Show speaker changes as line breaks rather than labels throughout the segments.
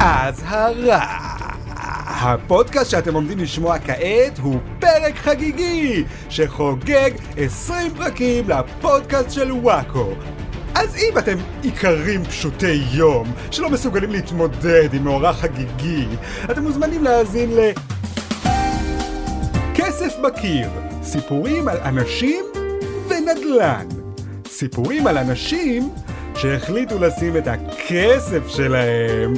אזהרה. הפודקאסט שאתם עומדים לשמוע כעת הוא פרק חגיגי שחוגג 20 פרקים לפודקאסט של וואקו. אז אם אתם איכרים פשוטי יום שלא מסוגלים להתמודד עם מאורע חגיגי, אתם מוזמנים להאזין ל... כסף בקיר, סיפורים על אנשים ונדל"ן. סיפורים על אנשים שהחליטו לשים את הכסף שלהם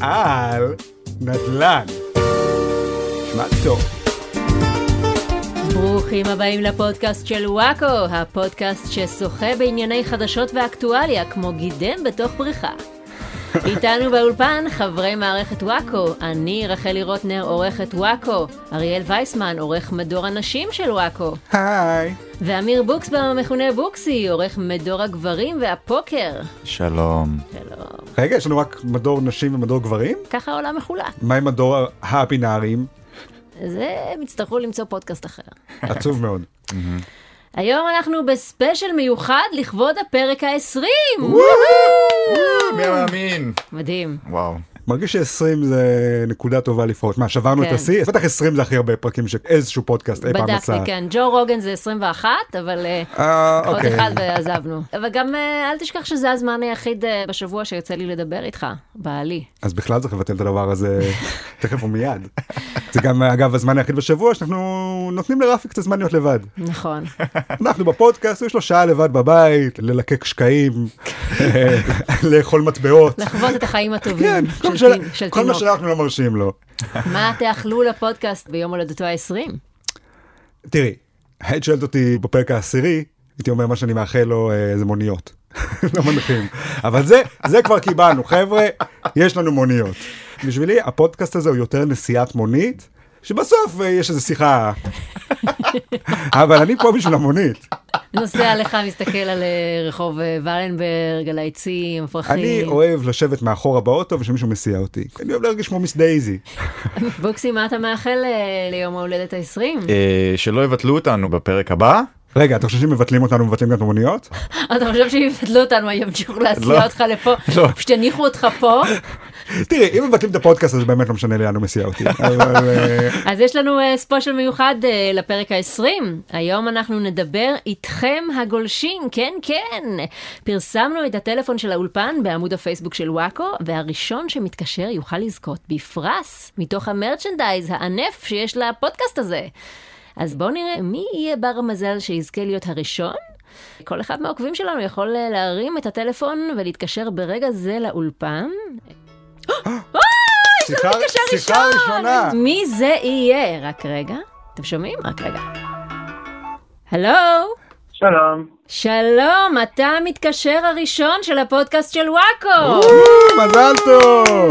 על נדל"ן. שמע טוב.
ברוכים הבאים לפודקאסט של וואקו, הפודקאסט ששוחה בענייני חדשות ואקטואליה כמו גידם בתוך בריכה. איתנו באולפן חברי מערכת וואקו, אני רחלי רוטנר עורכת וואקו, אריאל וייסמן עורך מדור הנשים של וואקו,
היי.
ואמיר בוקסבאום המכונה בוקסי עורך מדור הגברים והפוקר.
שלום.
שלום.
רגע, יש לנו רק מדור נשים ומדור גברים?
ככה העולם מחולק.
מה עם מדור הבינאריים?
זה, הם יצטרכו למצוא פודקאסט אחר.
עצוב מאוד.
היום אנחנו בספיישל מיוחד לכבוד הפרק ה-20!
מי מאמין?
מדהים.
וואו.
מרגיש ש-20 זה נקודה טובה לפרוש. מה, שברנו את
כן.
השיא? בטח 20 זה הכי הרבה פרקים שאיזשהו פודקאסט אי פעם עשה.
בדקתי, כן. ג'ו רוגן זה 21, אבל אה,
אה,
עוד
אוקיי.
אחד ועזבנו. אבל גם אה, אל תשכח שזה הזמן היחיד אה, בשבוע שיוצא לי לדבר איתך, בעלי.
אז בכלל צריך לבטל את הדבר הזה תכף ומיד. זה גם, אגב, הזמן היחיד בשבוע שאנחנו נותנים לרפי קצת זמן להיות לבד.
נכון.
אנחנו בפודקאסט, יש לו שעה לבד בבית, ללקק שקעים, אה, לאכול מטבעות.
לחוות את החיים
כן,
הטובים
כל מה
של
ש-
תינ- של
כל מה
תינוק.
שאנחנו לא מרשים לו.
מה תאכלו לפודקאסט ביום הולדתו ה-20?
תראי, היית שואלת אותי בפרק העשירי, הייתי אומר מה שאני מאחל לו אה, זה מוניות. לא מנחים. אבל זה, זה כבר קיבלנו, חבר'ה, יש לנו מוניות. בשבילי הפודקאסט הזה הוא יותר נסיעת מונית, שבסוף אה, יש איזו שיחה. אבל אני פה בשביל המונית.
נוסע לך, מסתכל על אה, רחוב אה, ולנברג, על העצים,
אני
הפרחים.
אוהב לשבת מאחורה באוטו ושמישהו מסיע אותי. אני אוהב להרגיש כמו מיס דייזי.
בוקסי, מה אתה מאחל אה, ליום ההולדת ה-20?
אה, שלא יבטלו אותנו בפרק הבא?
רגע, אתה חושב שמבטלים אותנו ומבטלים גם את המוניות?
אתה חושב שאם יבטלו אותנו היום, ימשיכו להסיע
לא.
אותך לפה,
לא.
פשוט יניחו אותך פה?
תראי, אם מבטלים את הפודקאסט הזה באמת לא משנה לי לאן הוא מסיע אותי. אבל... אה,
אז יש לנו אה, ספיישל מיוחד אה, לפרק ה-20. היום אנחנו נדבר איתכם הגולשים, כן כן. פרסמנו את הטלפון של האולפן בעמוד הפייסבוק של וואקו, והראשון שמתקשר יוכל לזכות בפרס מתוך המרצ'נדייז הענף שיש לפודקאסט הזה. אז בואו נראה מי יהיה בר המזל שיזכה להיות הראשון. כל אחד מהעוקבים שלנו יכול אה, להרים את הטלפון ולהתקשר ברגע זה לאולפן.
שיחה שיחה ראשונה.
מי זה יהיה? רק רגע. אתם שומעים? רק רגע. הלו?
שלום.
שלום, אתה המתקשר הראשון של הפודקאסט של וואקו.
מזל טוב!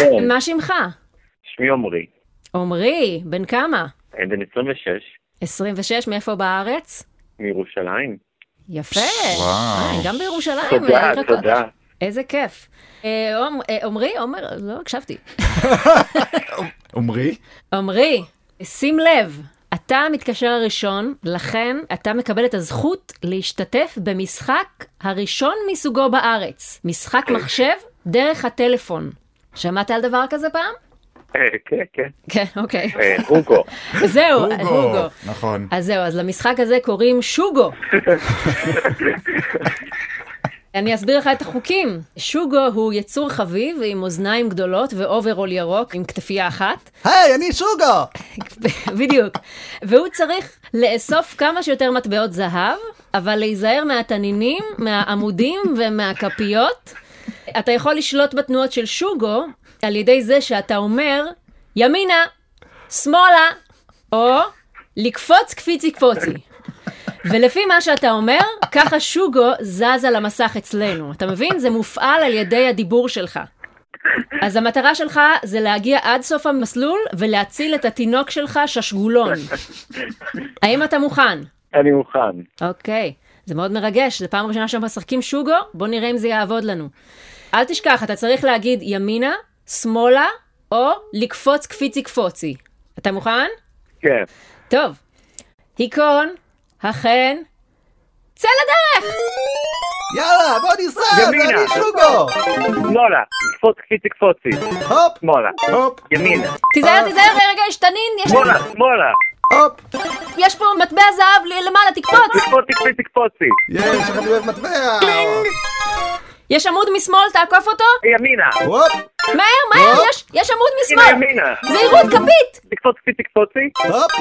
כן.
מה שמך?
שמי עמרי,
עמרי, בן כמה?
בן 26,
26, מאיפה בארץ?
מירושלים.
יפה.
וואו.
אה, גם בירושלים.
תודה,
אה, רק-
תודה.
איזה כיף. אה, עומ- אה, עמרי, עומר, לא הקשבתי.
עמרי?
עמרי, שים לב, אתה המתקשר הראשון, לכן אתה מקבל את הזכות להשתתף במשחק הראשון מסוגו בארץ. משחק מחשב דרך הטלפון. שמעת על דבר כזה פעם?
אה, כן, כן.
כן, אוקיי.
אה, אוגו.
זהו,
הוגו.
לא, הוגו.
נכון.
אז זהו, אז למשחק הזה קוראים שוגו. אני אסביר לך את החוקים. שוגו הוא יצור חביב עם אוזניים גדולות ואוברול ירוק עם כתפייה אחת.
היי, אני שוגו!
בדיוק. והוא צריך לאסוף כמה שיותר מטבעות זהב, אבל להיזהר מהתנינים, מהעמודים ומהכפיות. אתה יכול לשלוט בתנועות של שוגו על ידי זה שאתה אומר, ימינה, שמאלה, או לקפוץ קפיצי קפוצי. ולפי מה שאתה אומר, ככה שוגו זז על המסך אצלנו. אתה מבין? זה מופעל על ידי הדיבור שלך. אז המטרה שלך זה להגיע עד סוף המסלול ולהציל את התינוק שלך ששגולון. האם אתה מוכן?
אני מוכן.
אוקיי. זה מאוד מרגש, זו פעם ראשונה שמשחקים שוגו, בוא נראה אם זה יעבוד לנו. אל תשכח, אתה צריך להגיד ימינה, שמאלה, או לקפוץ קפיצי קפוצי. אתה מוכן?
כן.
טוב. היכון, אכן, צא לדרך!
יאללה, בוא ניסע,
ימינה.
ואני שוגו!
שמאלה, קפוץ קפיצי קפוצי,
הופ,
שמאלה,
הופ,
ימינה,
תיזהר, תיזהר, רגע, יש תנין, יש-
שמאלה, שמאלה,
הופ.
יש פה מטבע זהב ל- למעלה, תקפוץ!
קפוצי קפיצי קפוצי,
יש, אני אוהב מטבע!
יש עמוד משמאל, תעקוף אותו?
ימינה,
הופ,
מהר, מהר,
לא.
יש- יש עמוד
הנה
משמאל!
ימינה,
זהירות, כפית!
תקפוץ קפיצי קפוצי,
הופ,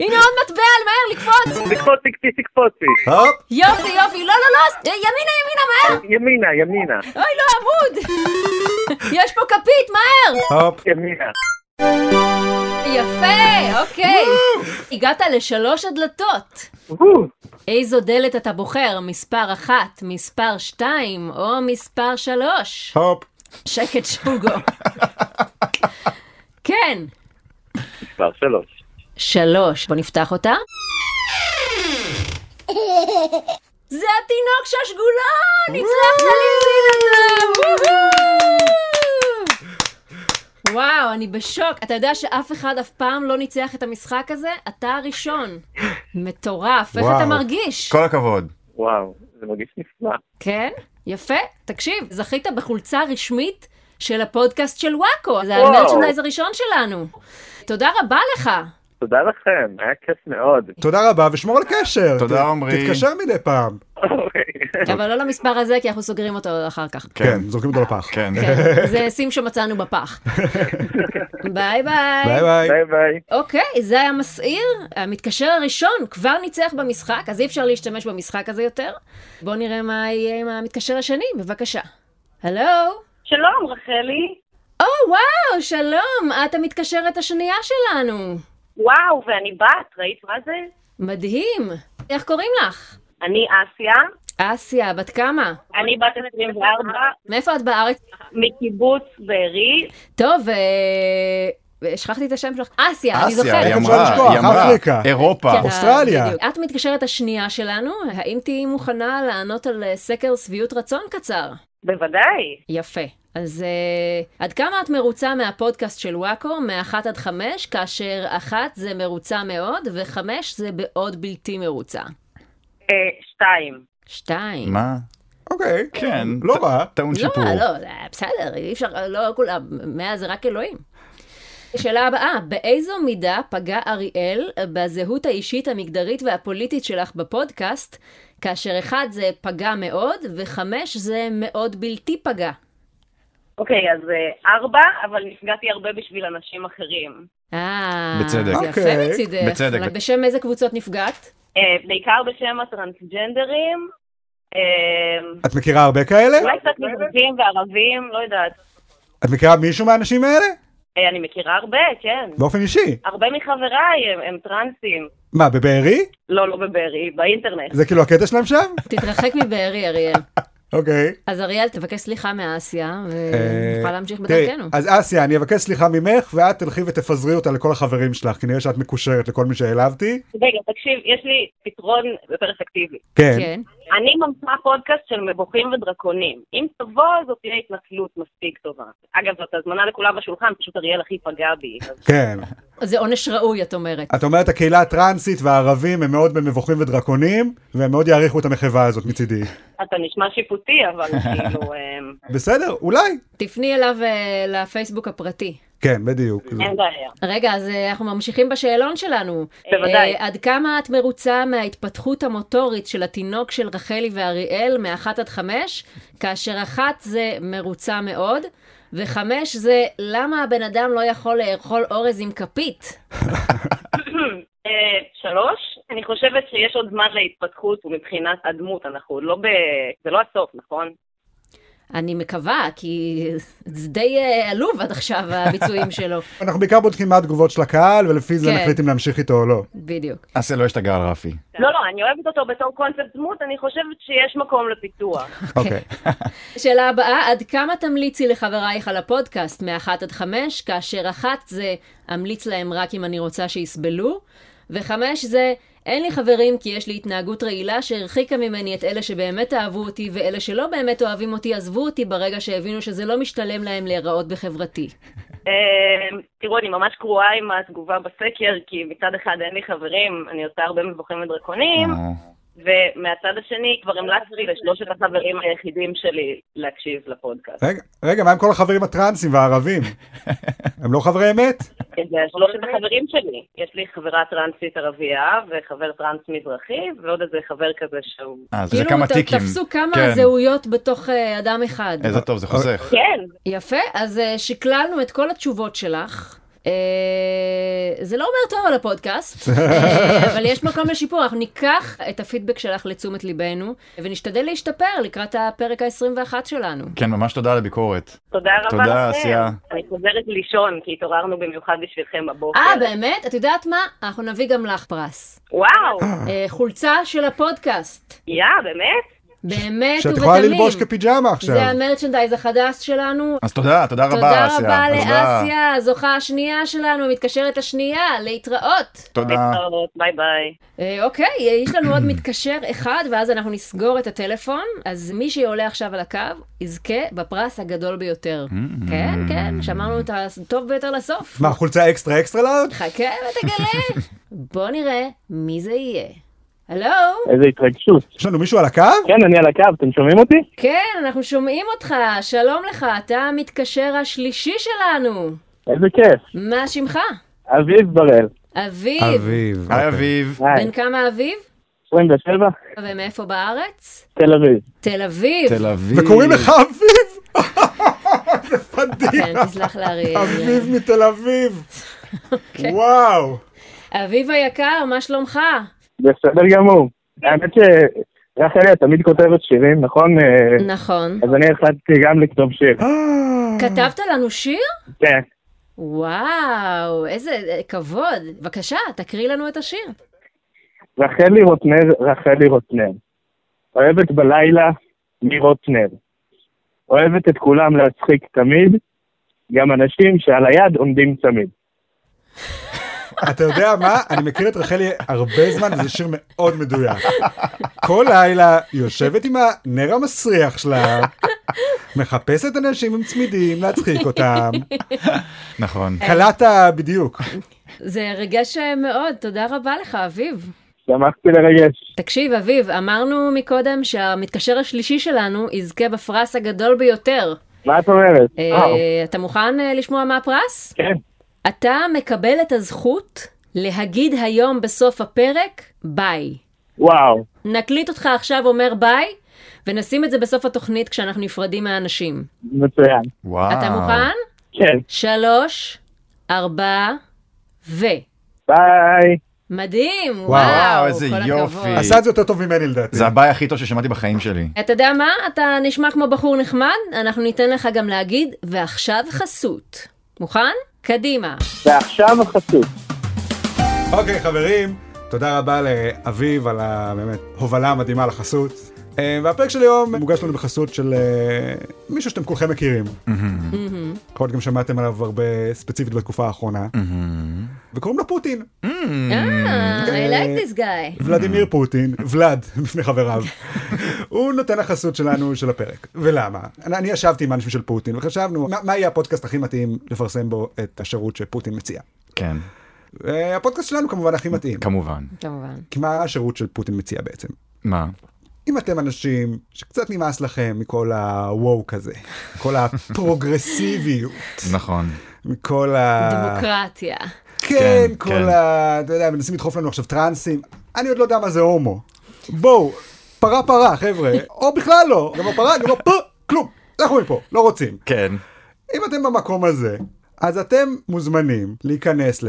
הנה עוד מטבע, מהר, לקפוץ!
תקפוצי קפיצי קפוצי,
הופ.
יופי, יופי, לא, לא, לא, ימינה, ימינה, מהר!
ימינה, ימינה,
אוי, לא, עמוד! יש פה כפית, מהר!
הופ.
ימינה,
יפה, אוקיי. הגעת לשלוש הדלתות.
וואו,
איזו דלת אתה בוחר? מספר אחת, מספר שתיים, או מספר שלוש?
הופ.
שקט שוגו. כן,
מספר שלוש,
שלוש. בוא נפתח אותה. זה התינוק שהשגולון! הצלחת להבין אותו! וואו! וואו, אני בשוק. אתה יודע שאף אחד אף פעם לא ניצח את המשחק הזה? אתה הראשון. מטורף. איך אתה
וואו.
מרגיש?
כל הכבוד.
וואו, זה מרגיש נפלא,
כן, יפה. תקשיב, זכית בחולצה רשמית של הפודקאסט של וואקו. זה
וואו.
המרצ'נדייז הראשון שלנו. תודה רבה לך.
תודה לכם, היה כיף מאוד,
תודה רבה ושמור על קשר.
תודה,
ת-
עמרי.
תתקשר מדי פעם.
אוקיי.
כן.
אבל לא למספר הזה, כי אנחנו סוגרים אותו אחר כך.
כן, זורקים אותו לפח.
כן.
כן, זה סים שמצאנו בפח. ביי ביי.
ביי ביי.
ביי ביי.
אוקיי, זה היה מסעיר. המתקשר הראשון כבר ניצח במשחק, אז אי אפשר להשתמש במשחק הזה יותר. בואו נראה מה יהיה עם המתקשר השני, בבקשה. הלו?
שלום, רחלי.
או, וואו, שלום, את המתקשרת השנייה שלנו.
וואו, ואני בת, ראית מה זה?
מדהים. איך קוראים לך?
אני אסיה,
אסיה, בת כמה?
אני בת 24,
מאיפה את בארץ?
מקיבוץ בארי.
טוב, אה... שכחתי את השם שלך. אסיה, אני זוכרת.
היא
איך אפשר לשכוח?
אמרה, היא אמרה,
אפריקה.
אירופה.
כן,
אוסטרליה.
בדיוק. את מתקשרת השנייה שלנו, האם תהיי מוכנה לענות על אה, סקר שביעות רצון קצר?
בוודאי.
יפה. אז uh, עד כמה את מרוצה מהפודקאסט של וואקו, מ-1 עד 5, כאשר 1 זה מרוצה מאוד, ו-5 זה בעוד בלתי מרוצה.
אה, שתיים.
2.
מה?
אוקיי.
כן.
לא
ט-
רע.
טעון שיפור.
לא, לא, זה בסדר, אי אפשר, לא כולם, 100 זה רק אלוהים. שאלה הבאה, באיזו מידה פגע אריאל בזהות האישית, המגדרית והפוליטית שלך בפודקאסט, כאשר אחד זה פגע מאוד, וחמש זה מאוד בלתי פגע?
אוקיי, אז אה, ארבע, אבל נפגעתי הרבה בשביל אנשים אחרים.
אה,
בצדק.
זה יפה
אוקיי.
מצידך.
בצדק.
אבל בשם איזה קבוצות נפגעת?
אה, בעיקר בשם הטרנסג'נדרים, אה,
את מכירה הרבה כאלה?
אולי קצת מזרחים וערבים, לא יודעת.
את מכירה מישהו מהאנשים האלה?
אה, אני מכירה הרבה, כן.
באופן אישי.
הרבה מחבריי הם- הם טרנסים.
מה, בבארי?
לא, לא בבארי, באינטרנט.
זה כאילו הקטע שלהם שם?
תתרחק מבארי, אריאל.
אוקיי.
אז אריאל, תבקש סליחה מאסיה,
אה,
ונוכל להמשיך
תראי, אה,
בדרכנו.
אז אסיה, אני אבקש סליחה ממך, ואת תלכי ותפזרי אותה לכל החברים שלך, כי נראה שאת מקושרת לכל מי שהעלבתי.
רגע, תקשיב, יש לי פתרון פרספקטיבי.
כן.
כן.
אני ממציאה פודקאסט של מבוכים ודרקונים. אם תבוא, זאת תהיה התנצלות מספיק טובה. אגב, זאת הזמנה לכולם בשולחן, פשוט אריאל הכי פגע בי. אז-
כן.
זה עונש ראוי, את אומרת.
את אומרת, הקהילה הטרנסית והערבים הם מאוד במבוכים ודרקונים, והם מאוד יעריכו את המחווה הזאת מצידי.
אתה נשמע שיפוטי, אבל כאילו... אמ,
בסדר, אולי.
תפני אליו אה, לפייסבוק הפרטי.
כן, בדיוק.
אין בעיה.
רגע, אז אה, אנחנו ממשיכים בשאלון שלנו.
בוודאי.
אה, עד כמה את מרוצה מההתפתחות המוטורית של התינוק של רחלי ואריאל מאחת עד חמש, כאשר אחת זה מרוצה מאוד, וחמש זה למה הבן אדם לא יכול לאכול אורז עם כפית?
אה, שלוש, אני חושבת שיש עוד זמן להתפתחות מבחינת הדמות, אנחנו עוד לא ב... זה לא הסוף, נכון?
אני מקווה, כי זה די אה, עלוב עד עכשיו הביצועים שלו.
אנחנו בעיקר בודקים מה התגובות של הקהל, ולפי זה
כן.
נחליט אם להמשיך איתו או לא.
בדיוק.
אסיה לא השתגע על רפי.
כאילו,
לא, לא, אני אוהבת אותו בתור קונספט דמות, אני חושבת שיש מקום לפיתוח.
כן.
אוקיי.
שאלה הבאה, עד כמה תמליצי לחברייך על הפודקאסט מאחת עד חמש, כאשר אחת זה אמליץ להם רק אם אני רוצה שיסבלו, וחמש זה אין לי חברים כי יש לי התנהגות רעילה שהרחיקה ממני את אלה שבאמת אהבו אותי, ואלה שלא באמת אוהבים אותי עזבו אותי ברגע שהבינו שזה לא משתלם להם להיראות בחברתי.
אה, תראו, אני ממש קרועה עם התגובה בסקר, כי מצד אחד אין לי חברים, אני עושה הרבה מבוכים ודרקונים,
אה,
ומהצד השני, כבר המלצתי לשלושת החברים היחידים שלי להקשיב לפודקאסט.
רגע, רגע, מה עם כל החברים הטרנסים והערבים? הם לא חברי אמת?
כן, זה שלושת החברים שלי. יש לי חברה טרנסית ערבייה, וחבר טרנס מזרחי, ועוד איזה חבר כזה שהוא...
אה, זה
כאילו,
כמה
ת-
טיקים.
תפסו כמה
כן.
זהויות בתוך אה, אדם אחד.
איזה טוב, זה
אה,
חוסך.
כן,
יפה, אז אה, שקללנו את כל התשובות שלך. אה, זה לא אומר טוב על הפודקאסט, אה, אבל יש מקום לשיפור. אנחנו ניקח את הפידבק שלך לתשומת ליבנו, ונשתדל להשתפר לקראת הפרק ה-21 שלנו.
כן, ממש תודה על הביקורת.
תודה רבה לכם.
תודה, עשייה.
אני חוזרת לישון, כי התעוררנו במיוחד בשבילכם בבוקר.
אה, באמת? את יודעת מה? אנחנו נביא גם לך פרס.
וואו,
אה, חולצה של הפודקאסט.
יא, באמת?
באמת
שאת
ובתמים.
יכולה ללבוש כפיג'מה עכשיו.
זה המרצ'נדייז החדש שלנו.
אז תודה, תודה רבה,
תודה
אסיה.
רבה לאסיה, הזוכה השנייה שלנו, המתקשרת השנייה, להתראות.
תודה.
אוקיי.
להתראות, ביי ביי.
אה, אוקיי, אה, יש לנו עוד מתקשר אחד, ואז אנחנו נסגור את הטלפון. אז מי שעולה עכשיו על הקו, יזכה בפרס הגדול ביותר. כן, כן, שמרנו את הטוב ביותר לסוף.
מה, חולצה אקסטרה אקסטרה לארג'?
חכה ותגלה. בוא נראה מי זה יהיה. הלו?
איזה התרגשות.
יש לנו מישהו על הקו?
כן, אני על הקו, אתם שומעים אותי?
כן, אנחנו שומעים אותך, שלום לך, אתה המתקשר השלישי שלנו.
איזה כיף.
מה שמך?
אביב בראל,
אביב.
אביב.
היי אביב.
היי,
בן כמה אביב?
27,
ומאיפה בארץ?
תל אביב.
תל אביב.
תל אביב.
וקוראים לך אביב! זה פדיחה.
כן, תסלח לאריאל.
אביב אוקיי. מתל אביב. וואו.
אביב היקר, מה שלומך?
בסדר גמור. האמת שרחלי, את תמיד כותבת שירים, נכון? אה,
נכון.
אז אני החלטתי גם לכתוב שיר.
כתבת לנו שיר?
כן.
וואו, איזה אה, כבוד. בבקשה, תקריא לנו את השיר.
רחלי רוטנר, רחלי רוטנר. אוהבת בלילה מרוטנר. אוהבת את כולם להצחיק תמיד, גם אנשים שעל היד עומדים צמיד.
אתה יודע מה? אני מכיר את רחלי הרבה זמן, וזה שיר מאוד מדויק. כל לילה היא יושבת עם הנר המסריח שלה, מחפשת אנשים עם צמידים להצחיק אותם.
נכון.
קלעת בדיוק.
זה ריגש אה, מאוד, תודה רבה לך, אביב.
שמחתי לרגש.
תקשיב, אביב, אמרנו מקודם שהמתקשר השלישי שלנו יזכה בפרס הגדול ביותר.
מה את אומרת?
אה,
וואו,
אתה מוכן אה, לשמוע מה הפרס?
כן.
אתה מקבל את הזכות להגיד היום בסוף הפרק ביי.
וואו,
נקליט אותך עכשיו אומר ביי, ונשים את זה בסוף התוכנית כשאנחנו נפרדים מהאנשים.
מצוין.
וואו.
אתה מוכן?
כן,
שלוש, ארבע, ו.
ביי.
מדהים, וואו,
וואו,
איזה
כל
יופי.
הכבוד.
עשה את זה יותר טוב ממני לדעתי.
זה הביי הכי טוב ששמעתי בחיים שלי.
אתה יודע מה? אתה נשמע כמו בחור נחמד, אנחנו ניתן לך גם להגיד, ועכשיו חסות. מוכן? קדימה.
Mm.
ועכשיו החסות.
אוקיי חברים, תודה רבה לאביב על ה- באמת הובלה המדהימה לחסות. אה, והפרק של היום מוגש לנו בחסות של אה, מישהו שאתם כולכם מכירים. יכול להיות גם שמעתם עליו הרבה ספציפית בתקופה האחרונה.
Mm-hmm.
וקוראים לו פוטין.
Mm.
אה, I like
אה,
this guy.
ולדימיר פוטין, ולד, בפני חבריו, הוא נותן החסות שלנו של הפרק. ולמה? אני אני ישבתי עם האנשים של פוטין וחשבנו, מה- מה יהיה הפודקאסט הכי מתאים לפרסם בו את השירות שפוטין מציע? אה,
כן,
הפודקאסט שלנו כמובן הכי מתאים.
כמובן.
כמובן.
כי מה השירות של פוטין מציע בעצם?
מה?
אם אתם אנשים שקצת נמאס לכם מכל הוואו כזה, כל הפרוגרסיביות,
נכון.
מכל
אה.
ה...
דמוקרטיה.
כן,
כן,
כל
כן.
ה... אתה יודע, מנסים לדחוף לנו עכשיו טרנסים, אני עוד לא יודע מה זה הומו. בואו, פרה פרה, חבר'ה, או בכלל לא, גם לא פרה, גם לא פ... כלום, לכו מפה, לא רוצים.
כן.
אם אתם במקום הזה, אז אתם מוזמנים להיכנס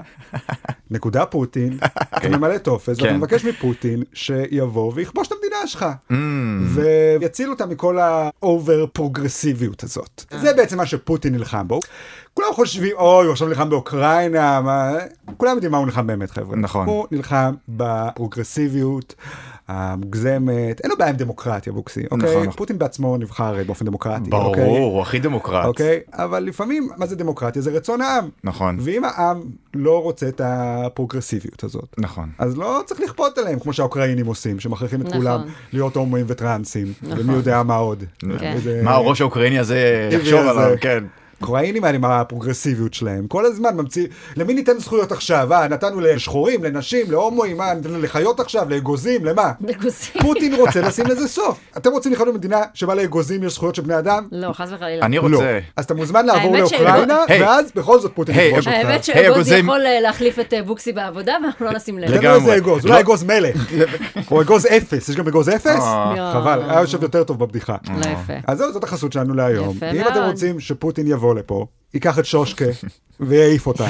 לפוטין.com.רוסיה.פוטין, פוטין, ממלא טופס,
כן.
ואתה מבקש מפוטין שיבוא ויכבוש את המדינה שלך,
אמ,
ויציל אותה מכל האובר פרוגרסיביות הזאת. זה בעצם מה שפוטין נלחם בו. כולם חושבים, אוי, הוא עכשיו נלחם באוקראינה, מה... כולם יודעים מה הוא נלחם באמת, חבר'ה.
נכון.
הוא נלחם בפרוגרסיביות. המוגזמת, אין לו בעיה עם דמוקרטיה בוקסי, אוקיי?
נכון.
פוטין בעצמו נבחר אה, באופן דמוקרטי, אוקיי?
ברור, הוא הכי דמוקרט.
אוקיי? אבל לפעמים, מה זה דמוקרטיה? זה רצון העם.
נכון.
ואם העם לא רוצה את הפרוגרסיביות הזאת,
נכון.
אז לא צריך לכפות עליהם, כמו שהאוקראינים עושים, שמכריחים את
נכון.
כולם להיות הומואים וטרנסים, ומי יודע מה עוד.
כן.
וזה-
אה, מה הראש האוקראיני הזה
טבעי
יחשוב
הזה.
עליו, כן.
כהנים האלה עם הפרוגרסיביות שלהם, כל הזמן ממציאים, למי ניתן זכויות עכשיו? אה, נתנו לשחורים, לנשים, להומואים, מה, נתנו לחיות עכשיו, לאגוזים, למה?
דגוסים.
פוטין רוצה לשים לזה סוף. אתם רוצים לחיות במדינה שבה לאגוזים יש זכויות של בני אדם?
לא, חס וחלילה.
אני
לא.
רוצה.
אז אתה מוזמן לעבור
האמת ש-
לאוקראינה,
היי.
ואז בכל זאת פוטין
היי,
יפגוש אותך.
האמת
היי,
שאגוז
אגוזים.
יכול אה, להחליף את אה, בוקסי בעבודה, ואנחנו לא נשים לב.
תן לו
לגמרי.
איזה אגוז,
לא-
אולי אגוז מלך, או אגוז אפס, יש גם אגוז אפס?
אה.
חבל, היה יושב יותר טוב בבדיחה.
לא יפה.
אז זהו, זאת החסות שלנו להיום.
יפה
אם
מאוד.
אתם רוצים שפוטין יבוא לפה, ייקח את שושקה ויעיף אותה.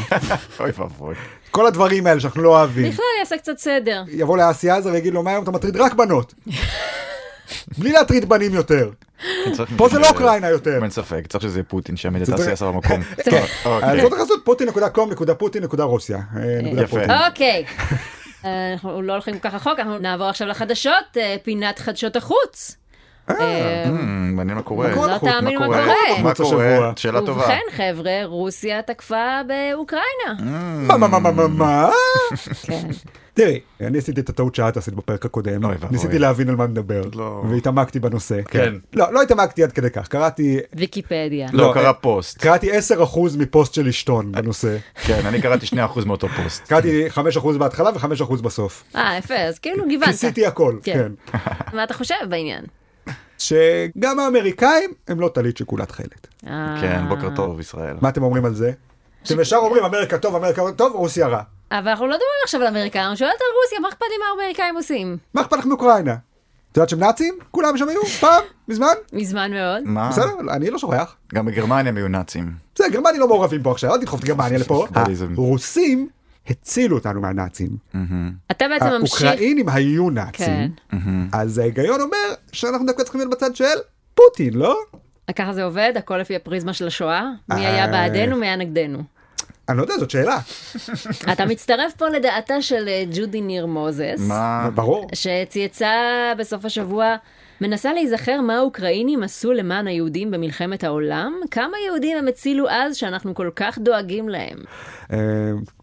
אוי ואבוי.
כל הדברים האלה שאנחנו לא אוהבים.
כן.
בכלל יעשה קצת סדר.
יבוא לאסי עזר ויגיד לו, מה היום אתה מטריד רק בנות. בלי להטריד בנים יותר.
צריך
פה זה
מישהו
לא
ש-
אוקראינה יותר.
אין ספק, צריך שזה יהיה פוטין שיעמיד את
צריך-
האסי עשר במקום.
כן. אז
אוקיי.
זאת החסות פוטין.com.putin.רוסיה. אה, נקודה
יפה.
פוטין.
אוקיי. אה, אנחנו לא הולכים כל כך רחוק, אנחנו נעבור עכשיו לחדשות, אה, פינת חדשות החוץ. אה,
אמ, מעניין מה קורה.
מה קורה
לא
בחוץ?
תאמין מה
מה
קורה.
מה
בחוץ
קורה?
השבוע?
שאלה טובה.
ובכן, חבר'ה, רוסיה תקפה
אה.
באוקראינה.
מה, מה, מה, מה, מה, מה?
כן.
תראי, אני עשיתי את הטעות שאת עשית בפרק הקודם,
אוי ואבוי.
ניסיתי להבין על מה נדבר,
לא.
והתעמקתי בנושא.
כן.
לא, לא התעמקתי עד כדי כך, קראתי...
ויקיפדיה.
לא,
אה,
קרא פוסט.
קראתי 10% מפוסט של אשתון בנושא.
כן, אני קראתי 2% מאותו פוסט.
קראתי 5% בהתחלה ו-5% בסוף.
אה, יפה, אז כאילו גיוונת.
כיסיתי הכל,
כן.
כן.
מה אתה חושב בעניין?
שגם האמריקאים הם לא טלית שכולה תכלת.
אה,
כן, בוקר טוב, ישראל.
מה אתם אומרים על זה? אתם ישר אומרים אמריקה טוב, אמריקה טוב, רוסיה רע.
אבל אנחנו לא מדברים עכשיו על אמריקאים, אני שואלת על רוסיה, מה אכפת לי מה האמריקאים עושים?
מה אכפת לך מאוקראינה? את יודעת שהם נאצים? כולם שם היו? פעם? מזמן?
מזמן מאוד.
מה?
בסדר, אני לא שוכח.
גם בגרמניה הם היו נאצים.
בסדר, גרמניה לא מעורבים פה עכשיו, אל תדחוף את גרמניה לפה.
פלורליזם.
הרוסים הצילו אותנו מהנאצים.
אתה בעצם ממשיך...
האוקראינים היו
כן.
נאצים. אז ההיגיון אומר שאנחנו דווקא צריכים להיות בצד של פוטין, לא?
אה, ככה זה עובד, הכל לפי הפריזמה של השואה. מי
אה.
היה בעדנו, מי היה נגדנו.
אני לא יודע, זאת שאלה.
אתה מצטרף פה לדעתה של אה, ג'ודי ניר מוזס,
מה?
ברור.
שצייצה בסוף השבוע, מנסה להיזכר מה האוקראינים עשו למען היהודים במלחמת העולם, כמה יהודים הם הצילו אז שאנחנו כל כך דואגים להם.
אה,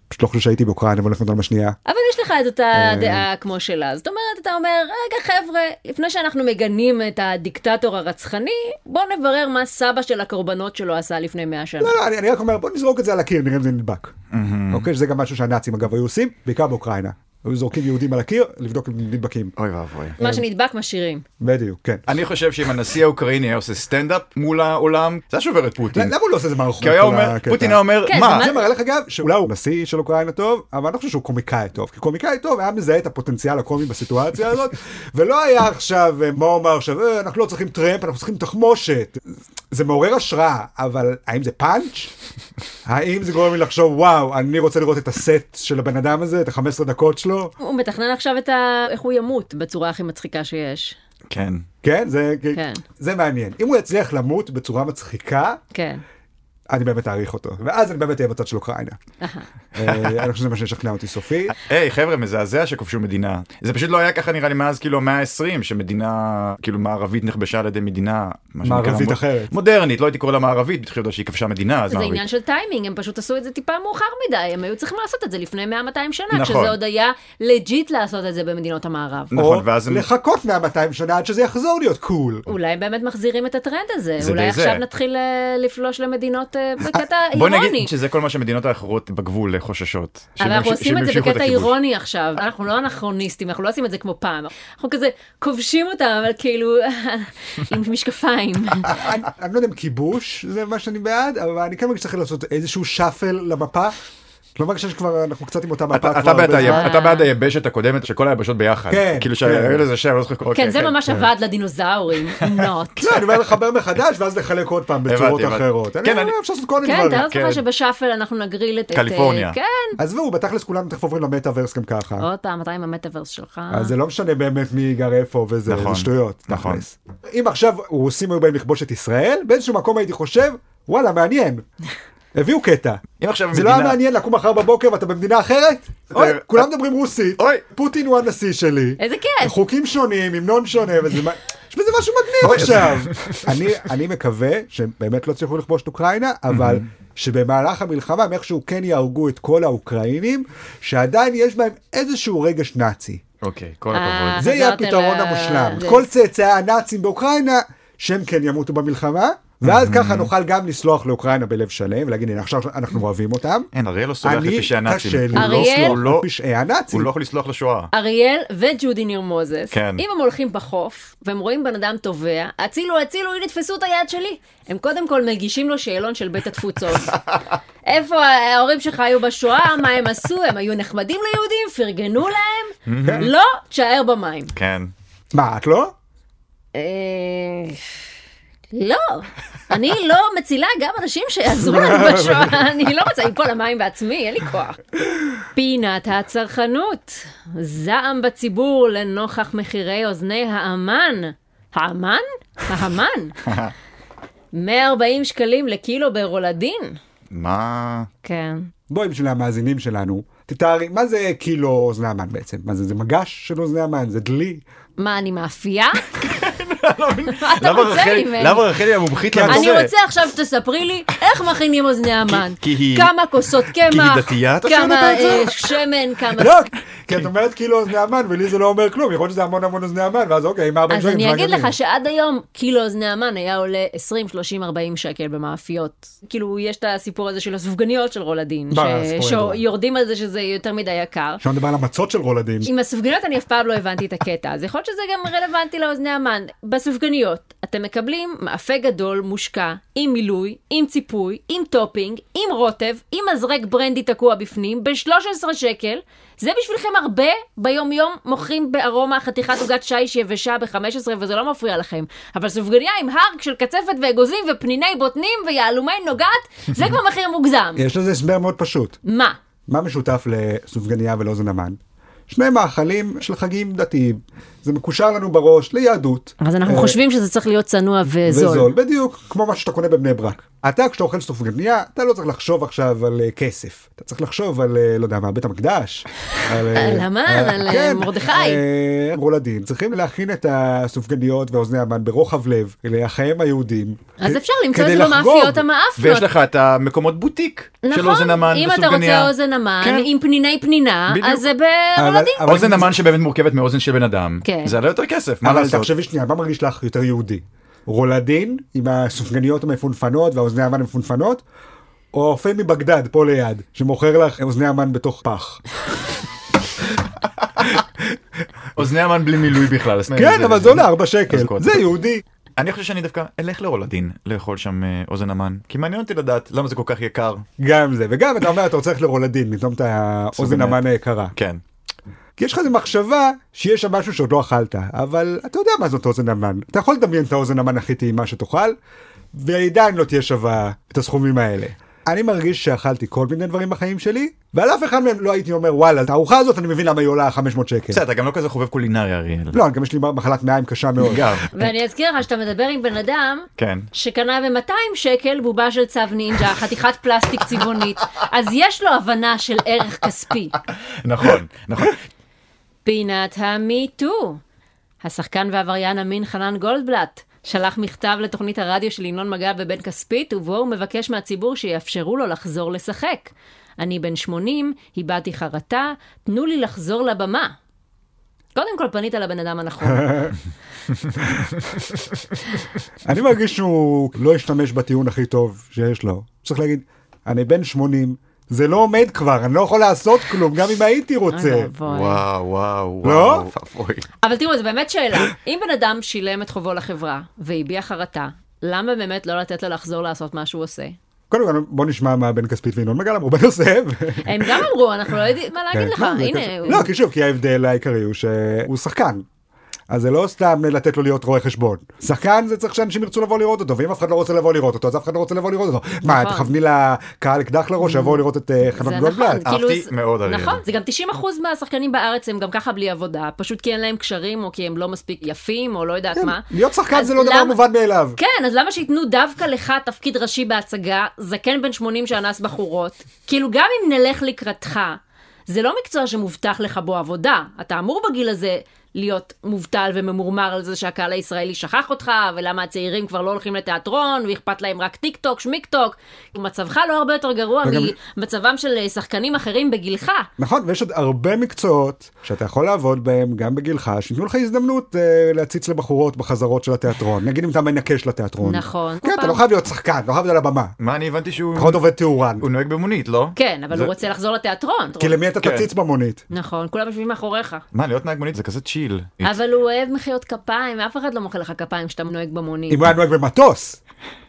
פשוט לא חושב שהייתי באוקראינה במלחמת העולם השנייה.
אבל יש לך את אותה דעה כמו שלה. זאת אומרת, אתה אומר, רגע חבר'ה, לפני שאנחנו מגנים את הדיקטטור הרצחני, בוא נברר מה סבא של הקורבנות שלו עשה לפני 100 שנה.
לא, לא, אני, אני רק אומר, בוא נזרוק את זה על הקיר, נראה אם זה נדבק. אוקיי, שזה גם משהו שהנאצים אגב היו עושים, בעיקר באוקראינה. היו זורקים יהודים על הקיר, לבדוק אם נדבקים.
אוי ואבוי.
מה שנדבק משאירים.
בדיוק, כן.
אני חושב שאם הנשיא האוקראיני היה עושה סטנדאפ מול העולם, זה היה שובר את
ל-
פוטין.
למה הוא לא עושה את זה מערכות?
כי הוא היה אומר, פוטין
אה.
היה אומר,
כן,
מה?
מה-
זה מראה לך גם שאולי הוא נשיא של אוקראינה טוב, אבל אני לא חושב שהוא קומיקאי טוב. כי קומיקאי טוב היה מזהה את הפוטנציאל הקומי בסיטואציה הזאת, ולא היה עכשיו, אה, מה הוא אמר עכשיו, "אה, אנחנו לא צריכים טרמפ, אנחנו צריכים תחמושת. זה מעורר השראה, אבל האם זה פאנץ'? האם זה גורם לי לחשוב, וואו, אני רוצה לראות את הסט של הבן אדם הזה, את ה-15 דקות שלו?
הוא מתכנן עכשיו את ה... איך הוא ימות בצורה הכי מצחיקה שיש.
כן.
כן, זה,
כן.
זה מעניין. אם הוא יצליח למות בצורה מצחיקה,
כן.
אני באמת אעריך אותו, ואז אני באמת אהיה בצד של אוקראינה. אה, אני חושב שזה מה שישכנע אותי סופית.
היי חבר'ה, מזעזע שכבשו מדינה. זה פשוט לא היה ככה נראה לי מאז כאילו המאה ה-20, שמדינה כאילו מערבית נכבשה על ידי מדינה. מה שנקרא,
מערבית
מ-
אחרת.
מודרנית, לא הייתי קורא לה מערבית, התחילו לדעת שהיא כבשה מדינה, אז
זה
מערבית.
עניין של טיימינג, הם פשוט עשו את זה טיפה מאוחר מדי, הם היו צריכים לעשות את זה לפני 100-200 שנה,
נכון.
כשזה עוד היה לג'יט לעשות את זה במדינות המערב.
נכון,
או
ואז הם...
לחכות 100-200 שנה עד שזה יחזור להיות קול.
אולי הם באמת מחזירים את הטרנד הזה,
זה
אולי
די זה.
עכשיו נתחיל אה, לפלוש למדינות אה, בקטע
בוא
אירוני.
נגיד שזה כל מה שהמדינות האחרות בגבול חוששות.
אבל
שהם
אנחנו
ימש-
עושים
שהם
את זה
ימשיכו
בקטע
הכיבוש.
אירוני עכשיו, אנחנו לא אנכרוניסטים, אנחנו לא עושים את זה כמו פעם, אנחנו כזה כובשים אותם, אבל כאילו עם משקפיים.
אוקיי,
אני אני לא יודע אם כיבוש זה מה שאני בעד, אבל אני כן מרגיש שצריך לעשות איזשהו שפל למפה. לא מרגיש שכבר אנחנו קצת עם אותה מפה.
אתה- אתה
כבר
בעד
הרבה
היב-
זמן.
אתה בעד היבשת הקודמת של כל היבשות ביחד.
כן,
כאילו
כן.
שהיה לזה שם, אני לא זוכר. אוקיי,
כן, זה ממש עבד לדינוזאורים, נוט.
לא, אני אומר לחבר מחדש ואז לחלק עוד פעם בצורות
הבנתי, הבנתי.
אחרות. אני
כן,
אומר,
אני-
אפשר לעשות כל מיני
כן,
דברים.
תאר לעצמך
כן.
שבשאפל אנחנו נגריל את... את, אה,
קליפורניה.
כן.
עזבו, בתכלס כולנו תכף עוברים למטאוורס גם ככה.
עוד פעם, אתה עם המטאוורס שלך.
אז זה לא משנה באמת מי גר איפה וזה
נכון,
זה שטויות.
נכון.
תכלס. אם עכשיו רוסים היו באים לכבוש את ישראל, באיזשהו מקום הייתי חושב, וואלה, מעניין. הביאו קטע.
אם עכשיו
זה לא היה
המדינה-
מעניין לקום מחר בבוקר ואתה במדינה אחרת? אוי,
אתה-
כולם מדברים רוסית,
אוי.
פוטין הוא הנשיא שלי.
איזה כיף.
חוקים שונים, המנון שונה, וזה מה- יש בזה משהו מגניב עכשיו. אני- אני מקווה שהם באמת לא יצליחו לכבוש את אוקראינה, אבל שבמהלך המלחמה הם איכשהו כן יהרגו את כל האוקראינים, שעדיין יש בהם איזשהו רגש נאצי.
אוקיי, כל
אה,
הכבוד.
זה יהיה
חזרת
הפתרון
ל-
המושלם.
זה-
כל צאצאי הנאצים באוקראינה, שהם כן ימותו במלחמה, ואז ככה נוכל גם לסלוח לאוקראינה בלב שלם ולהגיד הנה עכשיו אנחנו אוהבים אותם.
אין, אריאל לא סולח
אני
לפשעי הנאצים.
קשה לי.
הוא לא-
אריאל?
הוא לא-
פשעי הנאצים.
הוא לא יכול לסלוח לשואה.
אריאל וג'ודי ניר מוזס,
כן.
אם הם הולכים בחוף והם רואים בן אדם טובע, הצילו, הצילו, הנה תפסו את היד שלי. הם קודם כל מגישים לו שאלון של בית התפוצות. איפה ההורים שלך היו בשואה, מה הם עשו, הם היו נחמדים ליהודים, פרגנו להם, לא, תשאר במים.
כן.
מה, את לא?
אה, לא, אני לא מצילה גם אנשים שיעזרו לנו בשואה, אני לא רוצה ליפול למים בעצמי, אין לי כוח. פינת הצרכנות, זעם בציבור לנוכח מחירי אוזני האמן. האמן? האמן. 140 שקלים לקילו ברולדין.
מה?
כן.
בואי בשביל המאזינים שלנו, תתארי, מה זה קילו אוזני המן בעצם? מה זה, זה מגש של אוזני המן? זה דלי?
מה, אני מאפייה? מה אתה
למה
רוצה
רחלי-
ממני?
לא, למה רחלי המומחית
כי אני
לנושא?
אני רוצה עכשיו שתספרי לי איך מכינים אוזני המן.
כי היא-
כמה כוסות קמח.
היא דתייה, אתה שואל
כמה
אותה את זה?
אה, שמן, כמה...
לא, כי את אומרת קילו אוזני המן ולי זה לא אומר כלום, יכול להיות שזה המון המון אוזני המן, ואז אוקיי, 140
אז אני אגיד לך שעד היום קילו אוזני המן היה עולה 20, 30, 40 שקל במאפיות. כאילו, יש את הסיפור הזה של הסופגניות של רולדין,
מה, הסיפור
ש-
הידוע.
שיורדים על זה שזה יותר מדי יקר.
שם נדבר על המצות של רולדים.
עם הסופגניות אני אף פעם לא הבנתי את הקטע, אז יכול להיות שזה גם רלוונטי לאוזני המן. בסופגניות אתם מקבלים מאפה גדול מושקע, עם מילוי, עם ציפוי, עם טופינג, עם רוטב, עם מזרק ברנדי תקוע בפנים, ב-13 שקל. זה בשבילכם הרבה, ביום יום מוכרים בארומה חתיכת עוגת שיש יבשה ב-15 וזה לא מפריע לכם. אבל סופגניה עם הרק של קצפת ואגוזים ופניני בוטנים ויהלומי נוגת, זה כבר מחיר מוגזם.
יש לזה הסבר מאוד פשוט.
מה?
מה משותף לסופגניה ולאוזן המן? שני מאכלים של חגים דתיים. זה מקושר לנו בראש ליהדות.
אז אנחנו
אה,
חושבים שזה צריך להיות צנוע
וזול, בדיוק, כמו מה שאתה קונה בבני ברק. אתה כשאתה אוכל סופגניה, אתה לא צריך לחשוב עכשיו על אה, כסף. אתה צריך לחשוב על, אה, לא יודע מה, בית המקדש. על אה,
על המן,
אה,
על, אה,
כן,
מרדכי.
אה, רולדין. צריכים להכין את הסופגניות ואוזני המן ברוחב לב לאחיהם היהודים.
אז
כ-
אפשר למצוא את
כדי
זה
לחגוג.
במאפיות המאפנות.
ויש לך את המקומות בוטיק של אוזן המן
נכון, אם אתה
וסופגניה.
רוצה אוזן המן
כן.
עם פניני פנינה,
בדיוק.
אז זה
אבל-
ברולדין.
אבל-
אוזן המן שבאמת מורכבת מאוזן של בן אדם,
כן.
זה עלה יותר כסף, מה
אבל
לעשות?
תחשבי שנייה, מה מרגיש לך יותר יהודי? רולדין עם הסופגניות המפונפנות והאוזני המן המפונפנות? או האופה מבגדד פה ליד, שמוכר לך אוזני המן בתוך פח.
אוזני המן בלי מילוי בכלל. אז
כן, אבל זה עולה 4 שקל.
אז כל
זה
הכבוד.
יהודי.
אני חושב שאני דווקא אלך לרולדין לאכול שם אה, אוזן המן, כי מעניין אותי לדעת למה זה כל כך יקר.
גם זה, וגם אתה אומר, אתה רוצה ללכת לרולדין, לטעום את האוזן
סופגניות.
המן היקרה.
כן.
כי יש לך איזו מחשבה שיש שם משהו שעוד לא אכלת, אבל אתה יודע מה זאת אוזן המן. אתה יכול לדמיין את האוזן המן הכי טעימה שתאכל, והיא עדיין לא תהיה שווה את הסכומים האלה. אני מרגיש שאכלתי כל מיני דברים בחיים שלי, ועל אף אחד מהם לא הייתי אומר, וואלה, את הארוחה הזאת אני מבין למה היא עולה 500 שקל.
בסדר, אתה גם לא כזה חובב קולינריה, אריאל.
לא, גם יש לי מחלת מעיים קשה מאוד.
גם.
ואני אזכיר לך שאתה מדבר עם בן אדם
כן.
שקנה ב-200 שקל בובה של צו נינג'ה, חתיכת פלסטיק צבעונית, אז יש לו הבנה של ערך כספי.
נכון, נכון.
פינת המיטו. השחקן והעבריין המין חנן גולדבלט שלח מכתב לתוכנית הרדיו של ינון מגל ובן כספית, ובו הוא מבקש מהציבור שיאפשרו לו לחזור לשחק. אני בן 80, הבעתי חרטה, תנו לי לחזור לבמה. קודם כל פנית לבן אדם הנכון.
אני מרגיש שהוא לא השתמש בטיעון הכי טוב שיש לו. צריך להגיד, אני בן 80, זה לא עומד כבר, אני לא יכול לעשות כלום, גם אם הייתי רוצה.
אוי ואבוי.
וואו, וואו,
לא?
וואו. אוי.
אה, אבל תראו, זו באמת שאלה. אם בן אדם שילם את חובו לחברה והביע חרטה, למה באמת לא לתת לו לחזור לעשות מה שהוא עושה?
קודם כל בוא נשמע מה בן כספית וינון מגל אמרו בנושא. ו-
הם גם אמרו, אנחנו לא יודעים מה להגיד לך,
לא, זה
הנה,
כזה-
הוא-
לא, כי שוב, כי ההבדל העיקרי הוא שהוא שחקן. אז זה לא סתם לתת לו להיות רואה חשבון. שחקן זה צריך שאנשים ירצו לבוא לראות אותו, ואם אף אחד לא רוצה לבוא לראות אותו, אז אף אחד לא רוצה לבוא לראות אותו. מה,
נכון.
תכווני לקהל אקדח לראש, שיבואו לראות את אה,
זה
חנן
נכון,
גולדבלט.
כאילו...
אהבתי
זה-
מאוד, אריאל.
נכון, זה גם 90% מהשחקנים בארץ הם גם ככה בלי עבודה, פשוט כי אין להם קשרים, או כי הם לא מספיק יפים, או לא יודעת
כן,
מה.
להיות שחקן
אז
זה לא דבר
למה-
מובן מאליו.
כן, אז למה שייתנו דווקא לך תפקיד ראשי בהצגה, זקן בן 80 שאנס בחורות? כאילו, גם אם נלך לקראתך, זה לא מקצוע שמובטח לך בו עבודה. אתה אמור בגיל הזה להיות מובטל וממורמר על זה שהקהל הישראלי שכח אותך, ולמה הצעירים כבר לא הולכים לתיאטרון, ואכפת להם רק טיק טוק, שמיק טוק. מצבך לא הרבה יותר גרוע
וגם-
ממצבם של אה, שחקנים אחרים בגילך.
נכון, ויש עוד הרבה מקצועות שאתה יכול לעבוד בהם, גם בגילך, שייתנו לך הזדמנות אה, להציץ לבחורות בחזרות של התיאטרון. נגיד אם אתה מנקה של התיאטרון.
נכון. אוקיי.
כן, אתה לא חייב להיות שחקן, לא חייב להיות על הבמה.
מה אני הבנתי שהוא
פחות עובד תאורן.
הוא נוהג במונית לא?
כן, אבל
זה-
הוא רוצה לחזור לתיאטרון.
כי למי אתה
כן.
תציץ במונית?
נכון, כולם יושבים מאחוריך.
מה להיות נהג מונית זה כזה צ'יל.
אבל הוא אוהב מחיאות כפיים, אף אחד לא מוחא לך כפיים כשאתה נוהג במונית.
אם הוא היה נוהג במטוס.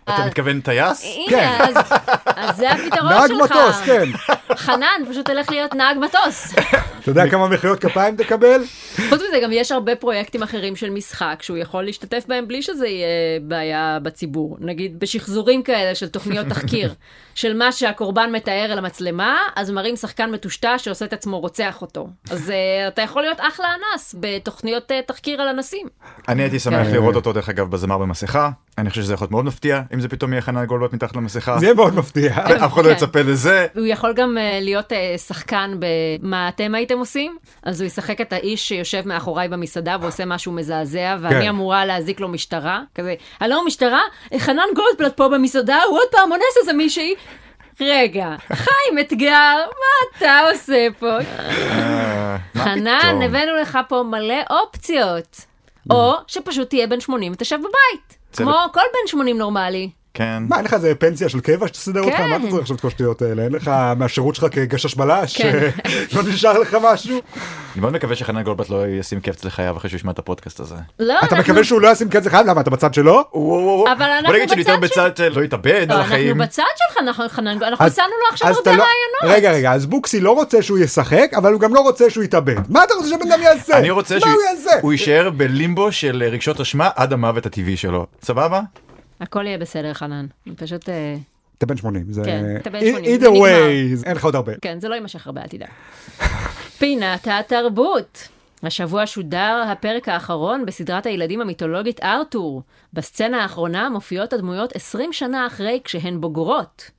אתה מתכוון
אה,
טייס?
כן.
הנה, אז- אז זה הפתרון
נהג
שלך.
מטוס, כן.
חנן, פשוט תלך להיות נהג מטוס.
אתה יודע כמה מחיאות כפיים תקבל?
חוץ מזה, גם יש הרבה פרויקטים אחרים של משחק שהוא יכול להשתתף בהם בלי שזה יהיה בעיה בציבור. נגיד בשחזורים כאלה של תוכניות תחקיר, של מה שהקורבן מתאר אל המצלמה, אז מראים שחקן מטושטש שעושה את עצמו רוצח אותו. אז אה, אתה יכול להיות אחלה אנס בתוכניות אה, תחקיר על אנסים.
אני הייתי שמח
כן.
לראות אותו דרך אגב בזמר במסכה. אני חושב שזה יכול להיות מאוד מפתיע אם זה פתאום יהיה חנן גולדבלט מתחת
אה.
למסכה.
זה יהיה מאוד מפתיע.
אף אחד לא
כן.
יצפה לזה.
הוא יכול גם אה, להיות אה, שחקן במה אתם הייתם עושים, אז הוא ישחק את האיש שיושב מאחוריי במסעדה ועושה משהו מזעזע, ואני
כן.
אמורה להזיק לו משטרה, כזה, הלו משטרה, אה, חנן גולדבלט פה במסעדה, הוא עוד פעם אונס איזה מישהי. רגע, חיים אתגר, מה אתה עושה פה?
אה, מה
חנן,
פתאום?
הבאנו לך פה מלא אופציות. או שפשוט תהיה בן 80 ותשב בבית,
זה
כמו כל בן 80 נורמלי.
כן.
מה, אין לך איזה פנסיה של קבע שתסדר אותך?
כן.
מה אתה צריך עכשיו את כל השטויות האלה? אין לך מהשירות שלך כגשש בלש?
כן.
לא נשאר לך משהו?
אני מאוד מקווה שחנן גולדבלט לא ישים קפץ לחייו אחרי שהוא ישמע את הפודקאסט הזה.
לא,
אתה
אנחנו- אה,
מקווה שהוא לא ישים כזה חיים? למה, אתה בצד שלו?
אבל אנחנו
בוא נגיד שאני
בצד
יותר
של-
בצד של לא יתאבד
לא,
על
אנחנו
החיים.
בצד שלך, אנחנו חנן, גולד- אנחנו הצענו לו עכשיו
אז
הרבה
אתה לא-
רעיונות.
רגע, רגע, אז בוקסי לא רוצה שהוא ישחק, אבל הוא גם לא רוצה שהוא יתאבד. מה אתה רוצה שבן אדם יעשה?
אני רוצה
מה הוא יעשה?
שהוא יישאר בלימבו של רגשות אשמה עד המוות הטבעי שלו. סבבה?
הכל יהיה בסדר, חנן. פשוט, אה,
אתה בן 80. זה...
כן, אתה בן
אי-
80,
either
זה נגמר.
way, אין לך עוד הרבה.
כן, זה לא יימשך הרבה, אל תדאג. פינת התרבות. השבוע שודר הפרק האחרון בסדרת הילדים המיתולוגית ארתור. בסצנה האחרונה מופיעות הדמויות 20 שנה אחרי כשהן בוגרות.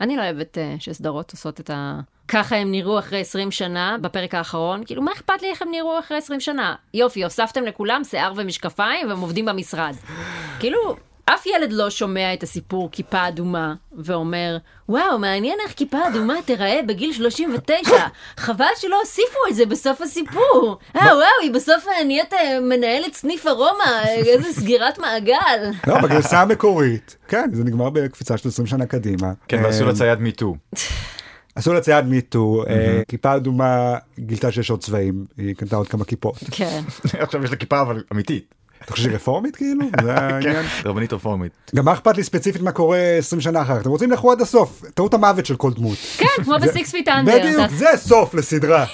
אני לא אוהבת אה, שסדרות עושות את ה... ככה הם נראו אחרי 20 שנה בפרק האחרון. כאילו, מה אכפת לי איך הם נראו אחרי 20 שנה? יופי, הוספתם לכולם שיער ומשקפיים והם עובדים במשרד. כאילו, אף ילד לא שומע את הסיפור כיפה אדומה ואומר, וואו, מעניין איך כיפה אדומה תיראה בגיל 39. חבל שלא הוסיפו את זה בסוף הסיפור. אה, וואו, היא בסוף אה, נהיית אה, מנהלת סניף ארומה, איזה סגירת מעגל.
לא, בגרסה המקורית. כן, זה נגמר בקפיצה של 20 שנה קדימה.
כן, ועשו
אה,
לצייד מיטו.
עשו לצייד מיטו, אה, כיפה אדומה גילתה שיש עוד צבעים, היא קנתה עוד כמה כיפות.
כן.
עכשיו יש לה כיפה אבל אמיתית.
אתה חושב שהיא רפורמית כאילו?
כן.
זה העניין.
רבנית רפורמית.
גם מה אכפת לי ספציפית מה קורה 20 שנה אחר כך? אתם רוצים לכו עד הסוף, טעות המוות של כל דמות.
כן, כמו בסיקס פיט אנדר.
בדיוק, זה סוף לסדרה.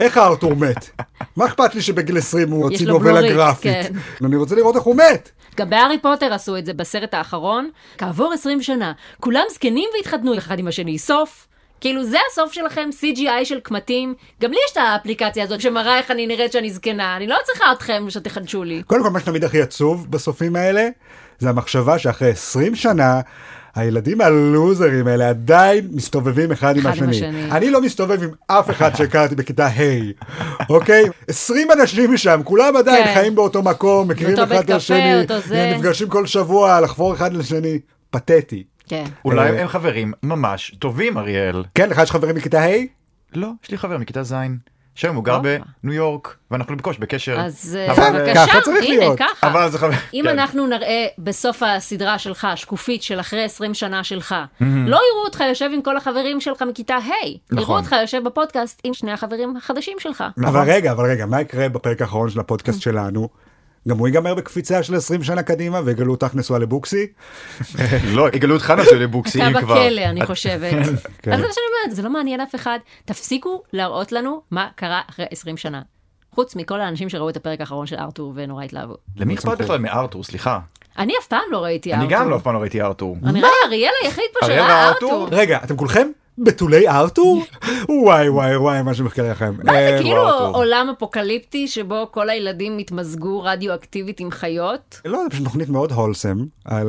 איך ארתור מת? מה אכפת לי שבגיל 20 הוא
יש
הוציא
לו
נובלה
בלורית,
גרפית?
כן.
אני רוצה לראות איך הוא מת.
גם בהארי פוטר עשו את זה בסרט האחרון, כעבור 20 שנה. כולם זקנים והתחתנו אחד עם השני, סוף. כאילו זה הסוף שלכם, CGI של קמטים. גם לי יש את האפליקציה הזאת שמראה איך אני נראית שאני זקנה, אני לא צריכה אתכם שתחדשו לי.
קודם כל, מה שתמיד הכי עצוב בסופים האלה, זה המחשבה שאחרי 20 שנה, הילדים הלוזרים האלה עדיין מסתובבים אחד עם
אחד עם
השני.
השני.
אני לא מסתובב עם אף אחד שהכרתי בכיתה ה', אוקיי? 20 אנשים משם, כולם עדיין
כן.
חיים באותו מקום, מכירים
באותו
אחד
בית
את
קפה,
השני,
אותו זה.
נפגשים כל שבוע לחבור אחד לשני, פתטי.
כן.
אה, אולי הם חברים ממש טובים אריאל.
כן, לך יש חברים מכיתה ה'?
לא, יש לי חבר מכיתה ז', שהיום הוא גר
אופה.
בניו יורק, ואנחנו בקושי בקשר.
אז אה,
כן. אבל-
בבקשה,
ככה צריך
הנה
להיות.
ככה.
אבל זה חבר...
אם
כן.
אנחנו נראה בסוף הסדרה שלך, שקופית של אחרי 20 שנה שלך, לא יראו אותך יושב עם כל החברים שלך מכיתה ה', יראו
נכון.
אותך יושב בפודקאסט עם שני החברים החדשים שלך.
אבל רגע, אבל רגע, מה יקרה בפרק האחרון של
Mm.
הפודקאסט שלנו? גם הוא ייגמר בקפיצה של 20 שנה קדימה, ויגלו אותך נשואה לבוקסי?
לא, יגלו אותך נשוי לבוקסי
אתה
אם כבר.
בכלא, אני חושבת. אז זה
כן.
מה שאני אומרת, זה לא מעניין אף אחד. תפסיקו להראות לנו מה קרה אחרי 20 שנה. חוץ מכל האנשים שראו את הפרק האחרון של ארתור ונורא התלהבו.
למי אכפת בכלל מארתור? סליחה.
אני אף פעם לא ראיתי
אני
ארתור.
גם לא אף פעם לא ראיתי ארתור.
אני נראה לי אריאל היחיד פה
אריאל
שראה
וארתור?
ארתור.
רגע, אתם כולכם בתולי ארתור? וואי וואי וואי, מה שמחכה לכם.
מה זה
אה,
כאילו
לא ארתור.
עולם אפוקליפטי שבו כל הילדים התמזגו רדיואקטיבית עם חיות?
לא, זו פשוט תוכנית מאוד הולסם, על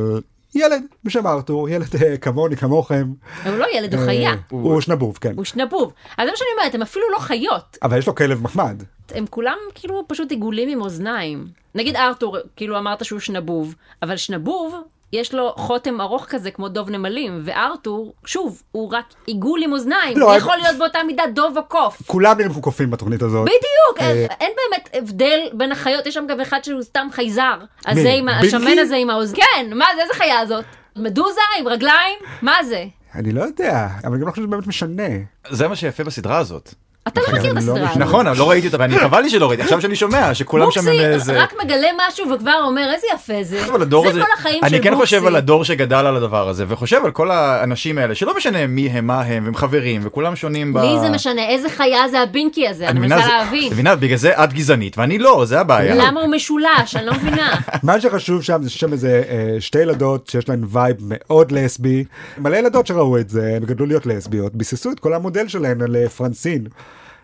ילד בשם ארתור, ילד אה, כמוני, כמוכם.
אבל הוא לא ילד, הוא
אה,
חיה.
הוא שנבוב, כן.
הוא שנבוב. אז זה מה שאני אומרת, הם אפילו לא חיות.
אבל יש לו כלב מחמד.
הם כולם כאילו פשוט עיגולים עם אוזניים. נגיד ארתור, כאילו אמרת שהוא שנבוב, אבל שנבוב, יש לו חותם ארוך כזה כמו דוב נמלים, וארתור, שוב, הוא רק עיגול עם אוזניים.
לא,
הוא
אבל-
יכול להיות באותה מידה דוב או קוף.
כולם נראים כמו קופים בתוכנית הזאת.
בדיוק,
אה,
אין- אין באמת הבדל בין החיות, יש שם גם אחד שהוא סתם חייזר. אז
מי?
זה עם ה-
בילקי?
השמן הזה עם האוז... כן, מה זה, איזה חיה זאת? מדוזה עם רגליים? מה זה?
אני לא יודע, אבל אני גם לא חושב שזה באמת משנה.
זה מה שיפה בסדרה הזאת.
אתה לא מכיר את
אני לא
הסדרה.
מכיר.
הזאת.
נכון, אבל לא ראיתי אותה, ואני חבל לי שלא ראיתי, עכשיו שאני שומע, שכולם שם
בוקסי
הם איזה...
רק מגלה משהו וכבר אומר איזה יפה זה.
חושב על הדור הזה,
זה כל החיים של
אני
בוקסי.
כן חושב על הדור שגדל על הדבר הזה, וחושב על כל האנשים האלה, שלא משנה מי הם, מה הם, הם חברים, וכולם שונים ב...
לי זה משנה, איזה חיה זה הבינקי הזה, אני
מבינה,
מנסה
זה-
להבין.
את מבינה, בגלל זה את גזענית, ואני לא, זה הבעיה.
למה הוא משולש? אני לא מבינה.
מה שחשוב שם זה ששם איזה אה, שתי ילדות שיש להן וייב מאוד לסבי. מלא ילדות שראו את זה, הן גדלו להיות לסביות, ביססו את כל המודל שלהן על אה, פרנסין.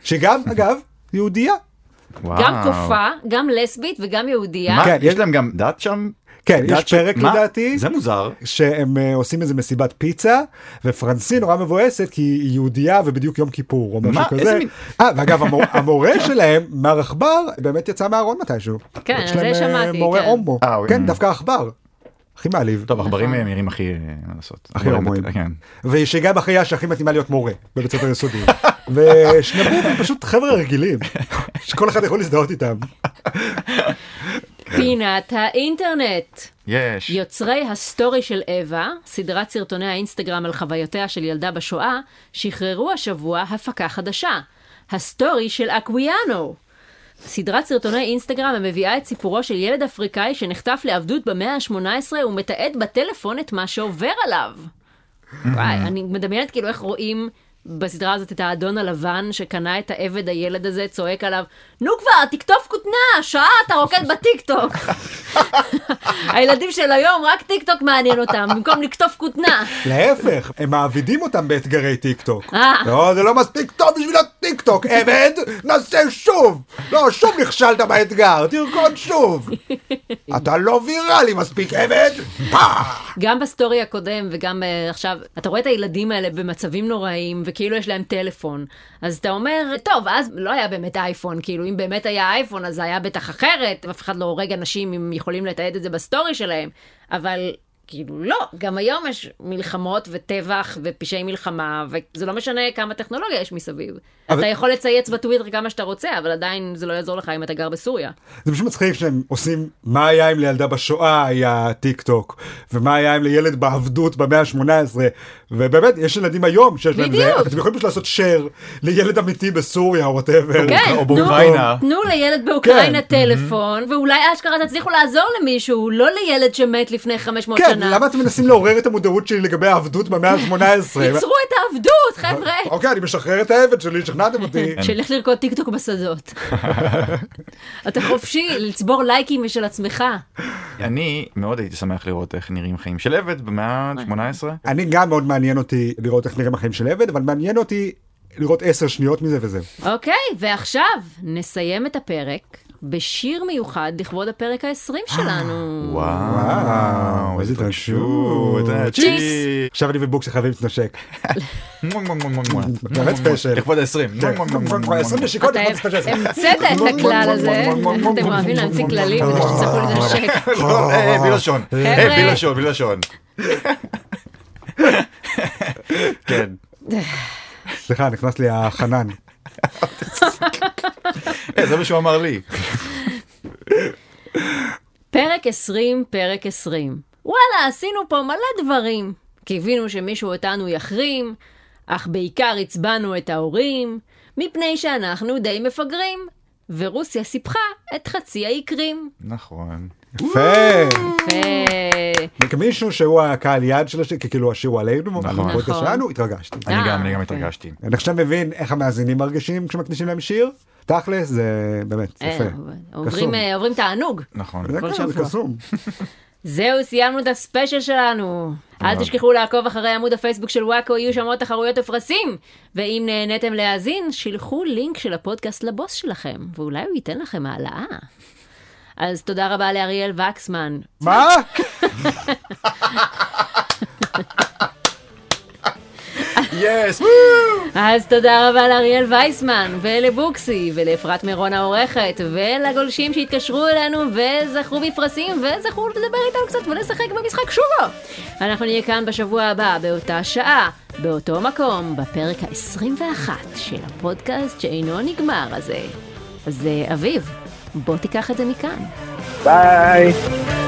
שגם, אגב, יהודייה.
וואו.
גם אה? קופה, גם לסבית וגם יהודייה.
מה?
כן,
יש
יש-
להם גם דת שם?
כן,
דת
יש פרק
מה?
לדעתי.
זה מוזר.
שהם אה, עושים איזה מסיבת פיצה, ופרנסין נורא מבואסת כי היא יהודייה ובדיוק יום כיפור או משהו
מה?
כזה.
איזה מין-
אה, ואגב, המור- המורה שלהם, מר עכבר, באמת יצא מהארון מתישהו.
כן,
יש
זה
להם, אה,
שמעתי,
מורה
כן.
הומו.
אה, הוא-
כן, דווקא עכבר. הכי מעליב.
נכון.
טוב, עכברים הם נראים הכי, אה, מה לעשות.
הכי הומואים.
כן.
והיא שגם החיה שהכי מתאימה להיות מורה בבית ספר יסודי. ושנבוב הם פשוט חבר'ה רגילים, שכל אחד יכול להזדהות איתם.
פינת האינטרנט.
יש.
יוצרי הסטורי של אווה, סדרת סרטוני האינסטגרם על חוויותיה של ילדה בשואה, שחררו השבוע הפקה חדשה, הסטורי של אקוויאנו. סדרת סרטוני אינסטגרם המביאה את סיפורו של ילד אפריקאי שנחטף לעבדות במאה ה-18 ומתעד בטלפון את מה שעובר עליו. וואי, אני מדמיינת כאילו איך רואים בסדרה הזאת את האדון הלבן שקנה את העבד הילד הזה, צועק עליו, נו כבר, תקטוף כותנה, שעה אתה רוקד בטיקטוק. הילדים של היום, רק טיקטוק מעניין אותם, במקום לקטוף כותנה.
להפך, הם מעבידים אותם באתגרי טיק טוק.
אה.
לא, זה לא מספיק טוב בשביל הטיק טוק, עבד, נסה שוב. לא, שוב נכשלת באתגר, תרקוד שוב. אתה לא ויראלי מספיק, עבד. פאח.
גם בסטורי הקודם וגם uh, עכשיו, אתה רואה את הילדים האלה במצבים נוראיים, וכאילו יש להם טלפון. אז אתה אומר, טוב, אז לא היה באמת אייפון, כאילו, אם באמת היה אייפון, אז זה היה בטח אחרת, אף אחד לא הורג אנשים אם יכולים לתעד את זה בסטורי שלהם. אבל... כאילו לא, גם היום יש מלחמות וטבח ופשעי מלחמה, וזה לא משנה כמה טכנולוגיה יש מסביב.
אבל-
אתה יכול לצייץ בטוויטר כמה שאתה רוצה, אבל עדיין זה לא יעזור לך אם אתה גר בסוריה.
זה פשוט מצחיק שהם עושים מה היה אם לילדה בשואה היה טיק טוק ומה היה אם לילד בעבדות במאה ה-18 ובאמת יש ילדים היום שיש להם זה
בדיוק.
אתם יכולים פשוט לעשות share לילד אמיתי בסוריה או וואטאבר.
כן,
או
תנו-
באוקראינה.
תנו לילד באוקראינה
כן.
טלפון, ואולי אשכרה תצליחו לעזור למישהו, לא לילד שמת לפני 500
כן,
שנה.
למה אתם מנסים לעורר את המודעות שלי לגבי העבדות במאה ה-18?
ייצרו את העבדות, חבר'ה.
אוקיי, אני משחרר את העבד שלי, שכנעתם אותי.
שילך לרקוד טיקטוק בשדות. אתה חופשי לצבור לייקים משל עצמך.
אני מאוד הייתי שמח לראות איך נראים חיים של עבד במאה ה-18.
אני גם מאוד מעניין אותי לראות איך נראים החיים של עבד, אבל מעניין אותי לראות עשר שניות מזה וזהו.
אוקיי, ועכשיו נסיים את הפרק בשיר מיוחד לכבוד הפרק ה-20 שלנו.
אה,
וואו,
איזה
איזה
התרגשות.
התרגשות. אה,
צ'יפס.
צ'יפס.
עכשיו אני ובוקס חייבים להתנשק.
מוה, מוה, מוה, מוה.
באמת ספיישל.
לכבוד ה-20.
כן, כבר 20
אה,
נשיקות,
אתה
אני לא רוצה לספיישל.
המצאת את הכלל הזה, איך אתם אוהבים להמציא כללים כדי שתצטרכו לנשק.
לא, אה, אה, בלי לשון.
חבר'ה.
אה, בלי לשון, בלי לשון. כן.
סליחה, נכנס לי החנן.
אה, זה מה שהוא אמר לי.
פרק 20, פרק 20. וואלה, עשינו פה מלא דברים. קיווינו שמישהו אותנו יחרים, אך בעיקר עצבנו את ההורים, מפני שאנחנו די מפגרים, ורוסיה סיפחה את חצי האי קרים.
נכון.
יפה.
יפה.
כמישהו שהוא הקהל יעד של השיר, כי כאילו השיר הוא עלינו, אנחנו בפודקאסט
נכון.
שלנו, התרגשתי.
אני
אה,
גם, אני גם
אוקיי.
התרגשתי.
אני עכשיו מבין איך המאזינים מרגישים כשמקדישים להם שיר. תכלס, זה באמת,
אה,
יפה.
עוברים, אה, עוברים תענוג.
נכון.
זה ככה, זה
שבוע.
קסום.
זהו, סיימנו את הספיישל שלנו. אל תשכחו לעקוב אחרי עמוד הפייסבוק של וואקו, יהיו שם עוד תחרויות ופרסים. ואם נהניתם להאזין, שילחו לינק של הפודקאסט לבוס שלכם, ואולי הוא ייתן לכם העלאה. אז תודה רבה לאריאל וקסמן.
מה?
יס!
אז תודה רבה לאריאל וייסמן, ולבוקסי, ולאפרת מירון העורכת, ולגולשים שהתקשרו אלינו, וזכו בפרסים, וזכו לדבר איתנו קצת ולשחק במשחק שובו. אנחנו נהיה כאן בשבוע הבא, באותה שעה, באותו מקום, בפרק ה-21 של הפודקאסט שאינו נגמר הזה. אז אה, אביב, בוא תיקח את זה מכאן.
ביי!